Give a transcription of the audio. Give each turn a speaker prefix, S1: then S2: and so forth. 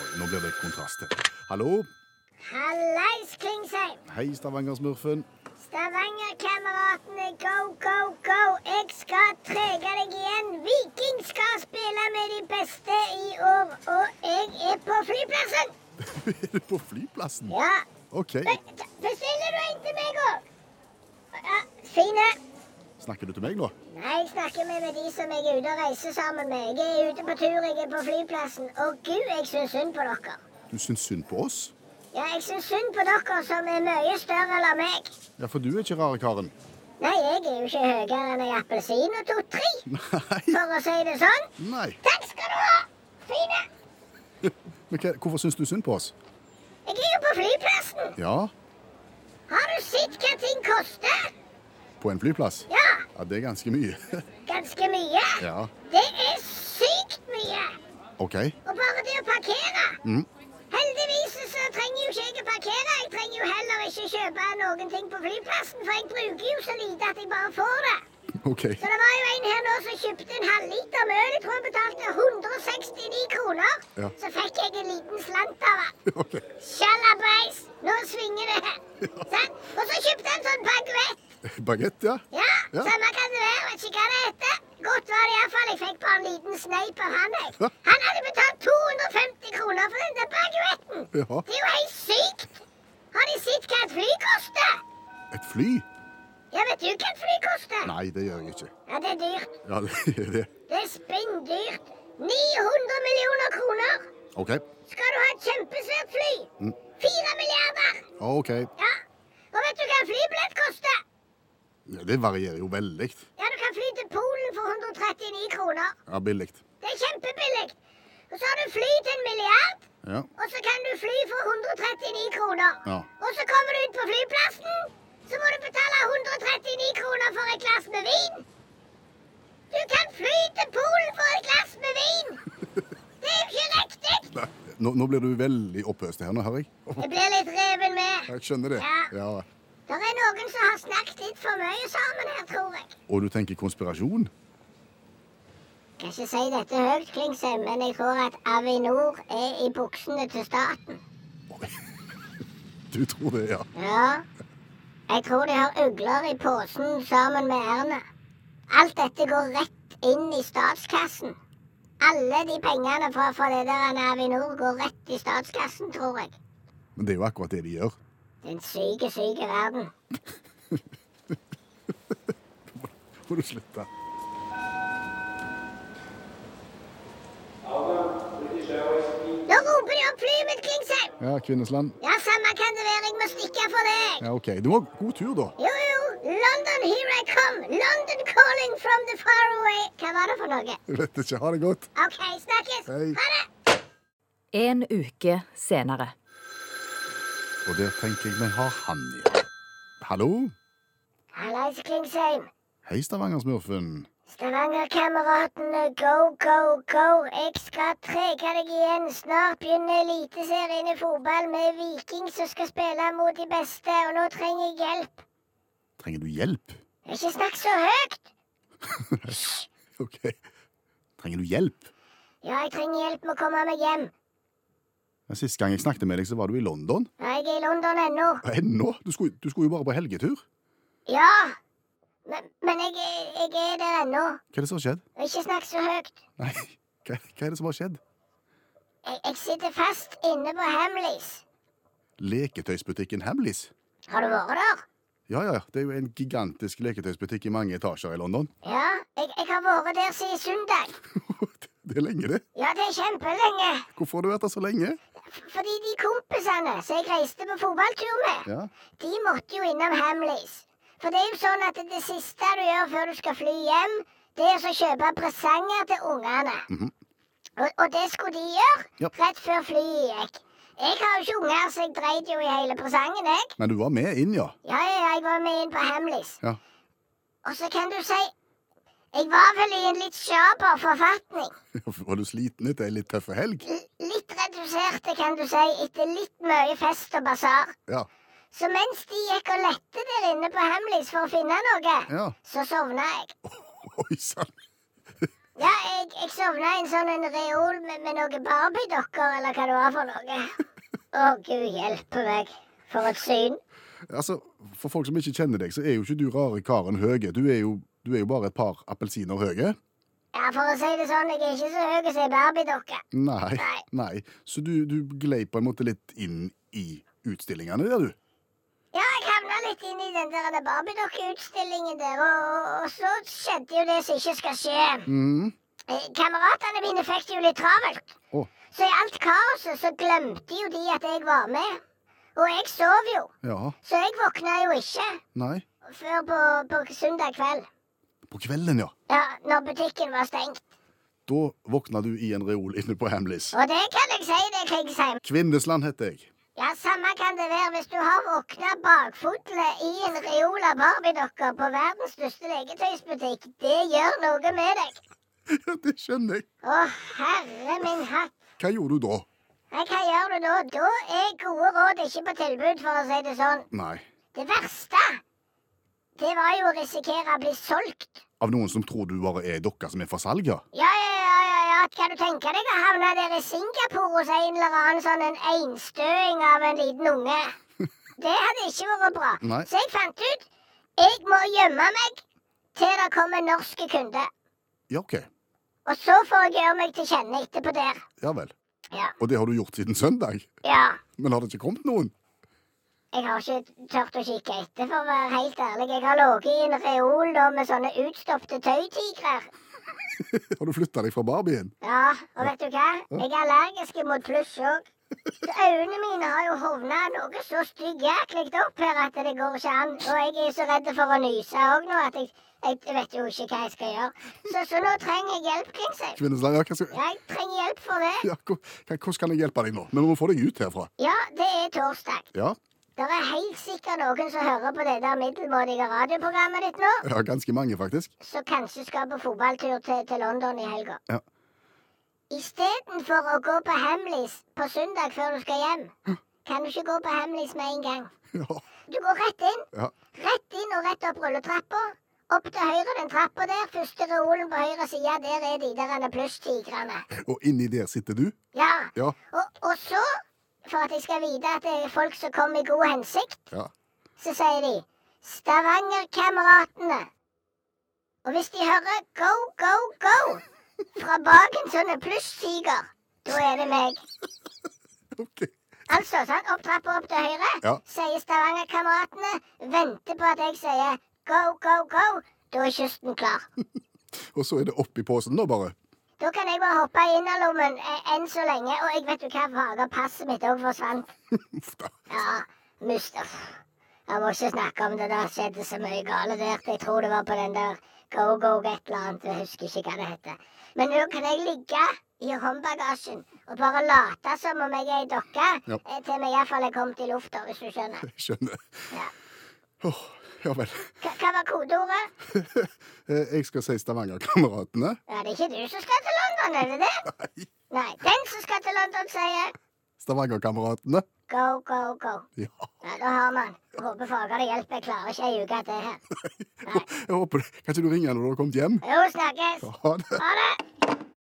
S1: Oi, nå blir det kontraster. Hallo?
S2: Hallais, Klingsheim!
S1: Hei, Stavanger-smurfen.
S2: Stavanger-kameratene, go, go, go! Jeg skal trege deg igjen. Viking skal spille med de beste i år, og jeg er på flyplassen!
S1: er du på flyplassen?
S2: Ja.
S1: OK.
S2: Be- t- Bestiller du en til meg òg? Ja, fine.
S1: Snakker du til meg nå?
S2: Nei, jeg snakker med, med de som jeg er ute og reiser sammen med. Jeg er ute på tur, jeg er på flyplassen. Og gud, jeg syns synd på dere.
S1: Du syns synd på oss?
S2: Ja, jeg syns synd på dere som er mye større enn meg.
S1: Ja, for du er ikke rare karen.
S2: Nei, jeg er jo ikke høyere enn ei appelsin og to-tre,
S1: Nei.
S2: for å si det sånn.
S1: Nei.
S2: Takk skal du ha! Fine!
S1: Men hva, hvorfor syns du synd på oss?
S2: Jeg er jo på flyplassen.
S1: Ja,
S2: Har du sett hva ting koster?
S1: på en flyplass?
S2: Ja,
S1: Ja, det er ganske mye.
S2: ganske mye.
S1: Ja.
S2: Det er sykt mye.
S1: OK.
S2: Og bare det å parkere.
S1: Mm.
S2: Heldigvis så trenger jo ikke jeg å parkere. Jeg trenger jo heller ikke kjøpe noen ting på flyplassen, for jeg bruker jo så lite at jeg bare får det.
S1: OK.
S2: Så det var jo en her nå som kjøpte en halvliter med øl. Jeg tror han betalte 169 kroner.
S1: Ja.
S2: Så fikk jeg en liten slant av han.
S1: Ok.
S2: Sjalabais! Nå svinger det. Sant? Og så kjøpte han sånn baguett.
S1: Bagett, ja.
S2: Ja,
S1: Ja.
S2: Samme kan det være. Vet ikke hva det heter. Godt var det iallfall. Jeg fikk bare en liten sneip av han.
S1: Ja.
S2: jeg. Han hadde betalt 250 kroner for den der baguetten.
S1: Ja.
S2: Det er jo helt sykt! Har de sett hva et fly koster?
S1: Et fly?
S2: Ja, vet du hva et fly koster?
S1: Nei, det gjør jeg ikke.
S2: Ja, det er dyrt.
S1: Ja, det er det.
S2: Det er spinndyrt. 900 millioner kroner
S1: OK.
S2: skal du ha et kjempesvært fly. Fire milliarder.
S1: OK.
S2: Ja. Og vet du hva en flybillett koster?
S1: Ja, det varierer jo veldig.
S2: Ja, du kan fly til Polen for 139 kroner.
S1: Ja, billig.
S2: Det er kjempebillig. Og så har du fly til en milliard,
S1: Ja.
S2: og så kan du fly for 139 kroner.
S1: Ja.
S2: Og så kommer du ut på flyplassen, så må du betale 139 kroner for et glass med vin. Du kan fly til Polen for et glass med vin. Det er jo ikke riktig.
S1: Nei, Nå, nå blir du veldig opphøst her nå, hører jeg.
S2: Jeg blir litt reven med.
S1: Jeg skjønner det. Ja.
S2: Det er noen som har snakket litt for mye sammen her, tror jeg.
S1: Og du tenker konspirasjon?
S2: Kan ikke si dette høyt, Klingsheim, men jeg tror at Avinor er i buksene til staten.
S1: Du tror det, ja.
S2: Ja. Jeg tror de har ugler i posen sammen med Erna. Alt dette går rett inn i statskassen. Alle de pengene fra, fra det der Avinor går rett i statskassen, tror jeg.
S1: Men det er jo akkurat det de gjør.
S2: Det er en syke, syke verden.
S1: Må du slutte.
S2: Nå roper de opp flyet mitt, Klingsheim!
S1: Ja, Kvinnesland.
S2: Ja, samme kan det være. Jeg må stikke for det, jeg.
S1: Ja, OK. Du må ha god tur, da.
S2: Jo, jo, London, here I come. London calling from the far away. Hva var det for noe?
S1: Jeg vet ikke. Ha det godt.
S2: OK, snakkes.
S1: Hei.
S2: Ha det.
S3: En uke senere.
S1: Og der tenker jeg, men har han igjen? Hallo?
S2: Hallais, Klingsheim.
S1: Hei, Stavanger-smurfen.
S2: Stavanger-kameratene, go, go, go. Jeg skal trege deg igjen. Snart begynner Eliteserien i fotball med Viking som skal spille mot de beste, og nå trenger jeg hjelp.
S1: Trenger du hjelp?
S2: Ikke snakk så høyt.
S1: OK. Trenger du hjelp?
S2: Ja, jeg trenger hjelp med å komme meg hjem.
S1: Ja, Sist gang jeg snakket med deg, så var du i London.
S2: Ja, jeg er i London ennå.
S1: Og Ennå? Du skulle, du skulle jo bare på helgetur.
S2: Ja, men, men jeg, er- jeg er der ennå.
S1: Hva er det som har skjedd?
S2: Og ikke snakk så høyt.
S1: Nei, hva, hva er det som har skjedd?
S2: Jeg, jeg sitter fast inne på Hamleys.
S1: Leketøysbutikken Hamleys?
S2: Har du vært der?
S1: Ja, ja, det er jo en gigantisk leketøysbutikk i mange etasjer i London.
S2: Ja, jeg, jeg har vært der siden søndag.
S1: det er lenge, det.
S2: Ja, det er kjempelenge.
S1: Hvorfor har du vært der så lenge?
S2: F- Fordi de kompisene som jeg reiste på fotballtur med,
S1: Ja,
S2: de måtte jo innom Hamleys. For det er jo sånn at det siste du gjør før du skal fly hjem, det er å kjøpe presanger til ungene. og, og det skulle de gjøre
S1: Mhm. Ja.
S2: rett før flyet gikk. Jeg har jo ikke unger, så jeg dreit jo i hele presangen, jeg.
S1: Men du var med inn, ja.
S2: Ja, ja, ja, jeg var med inn på Hamleys.
S1: Ja.
S2: Og så kan du si Jeg var vel i en litt sjaber forfatning.
S1: Var du sliten etter ei litt tøffe helg?
S2: L litt reduserte, kan du si, etter litt mye fest og basar.
S1: Ja.
S2: Så mens de gikk og lette der inne på Hamleys for å finne noe,
S1: Ja.
S2: så sovna jeg.
S1: Oi sann.
S2: Ja, jeg, jeg sovna i en sånn en reol med, med noen barbiedokker, eller hva det var for noe. Å, gud hjelpe meg. For et syn.
S1: Altså, For folk som ikke kjenner deg, så er jo ikke du rare karen Høge. Du er jo, du er jo bare et par appelsiner høye.
S2: Ja, for å si det sånn, jeg er ikke så høy som ei barbiedokke.
S1: Nei.
S2: Nei.
S1: nei. Så du, du glei på en måte litt inn i utstillingene der, du.
S2: Ja, jeg havna litt inn i den der barbiedokke-utstillingen der, og, og, og så skjedde jo det som ikke skal skje.
S1: Mhm.
S2: Eh, Kameratene mine fikk det jo litt travelt.
S1: Å.
S2: Så i alt kaoset så glemte jo de at jeg var med. Og jeg sov jo,
S1: Ja.
S2: så jeg våkna jo ikke
S1: Nei.
S2: før på, på søndag kveld.
S1: På kvelden, ja.
S2: Ja, når butikken var stengt.
S1: Da våkna du i en reol inne på Hamleys.
S2: Og det kan jeg si, det Klingsheim.
S1: Kvinnesland heter jeg.
S2: Ja, samme kan det være hvis du har våkna bakfotle i en reol av barbiedokker på verdens største leketøysbutikk. Det gjør noe med deg.
S1: Ja, det skjønner jeg.
S2: Å, herre min hatt.
S1: Hva gjorde du da?
S2: Nei, hva gjør du da? Da er gode råd ikke på tilbud, for å si det sånn.
S1: Nei.
S2: Det verste, det var jo å risikere å bli solgt.
S1: Av noen som tror du bare er ei dokke som er for salg, ja?
S2: Ja, ja, ja, ja, ja, kan du tenke deg å havne der i Singapore hos en eller annen sånn en einstøing av en liten unge? Det hadde ikke vært bra.
S1: Nei.
S2: Så jeg fant ut jeg må gjemme meg til det kommer norske kunder.
S1: Ja, OK.
S2: Og så får jeg gjøre meg til kjenne etterpå der.
S1: Ja vel.
S2: Ja.
S1: Og det har du gjort siden søndag?
S2: ja.
S1: Men har det ikke kommet noen?
S2: Jeg har ikke tørt å kikke etter, for å være helt ærlig. Jeg har ligget i en reol da med sånne utstoppte tøytigrer.
S1: Har du flytta deg fra Barbien?
S2: Ja, og vet du hva? Jeg er allergisk mot pluss òg. Så øynene mine har jo hovna noe så styggjerklig opp her at det går ikke an. Og jeg er jo så redd for å nyse òg nå at jeg, jeg vet jo ikke hva jeg skal gjøre. Så, så nå trenger jeg hjelp, Klingsheim.
S1: Kvinnesland, ja, hva skal...
S2: Jeg trenger hjelp for det.
S1: Ja, hva- hva- hvordan kan jeg hjelpe deg nå? Men vi må få deg ut herfra.
S2: Ja, det er torsdag.
S1: Ja,
S2: Det er helt sikkert noen som hører på det der middelmådige radioprogrammet ditt nå,
S1: ja ganske mange, faktisk.
S2: som kanskje skal på fotballtur til, til London i helga.
S1: Ja.
S2: Istedenfor å gå på Hamleys på søndag før du skal hjem, kan du ikke gå på Hamleys med en gang.
S1: Ja,
S2: Du går rett inn,
S1: ja.
S2: rett inn og rett opp rulletrappa. Opp til høyre den trappa der, første reolen på høyre side, der er de der plusstigerne.
S1: Og inni der sitter du?
S2: Ja.
S1: Ja.
S2: Og, og så, for at jeg skal vite at det er folk som kommer i god hensikt,
S1: Ja.
S2: så sier de Stavangerkameratene. Og hvis de hører go, go, go fra bak en sånn plusstiger, da er det meg.
S1: OK.
S2: Altså, sant, opp trappa opp til høyre,
S1: Ja.
S2: sier Stavangerkameratene, venter på at jeg sier go, go, go. Da er kysten klar.
S1: Og så er det oppi posen nå, bare.
S2: Da kan jeg bare hoppe i innerlommen eh, enn så lenge, og jeg vet jo hva farger passet mitt òg forsvant.
S1: Uff da.
S2: Ja, Mustaf. Jeg må ikke snakke om det. Det skjedde så mye gale der. Jeg tror det var på den der Go Go et eller annet. Jeg husker ikke hva det heter. Men nå kan jeg ligge i håndbagasjen og bare late som om jeg er ei dokke,
S1: Ja.
S2: eh, til vi iallfall er kommet i lufta, hvis du skjønner.
S1: Jeg skjønner.
S2: Ja.
S1: Åh, ja vel.
S2: Hva, hva var kodeordet?
S1: Eh, Jeg skal si Stavanger-kameratene.
S2: Ja, det er ikke du som skal til London, er det det?
S1: Nei.
S2: Nei. Den som skal til London, sier
S1: Stavanger-kameratene.
S2: go, go, go.
S1: Ja.
S2: Ja, da har man. Håper fagene hjelper. Jeg klarer ikke ei uke til her.
S1: Jeg håper det. Kan ikke du ringe når du har kommet hjem?
S2: Jo, snakkes.
S1: Ha det.
S2: Ha det.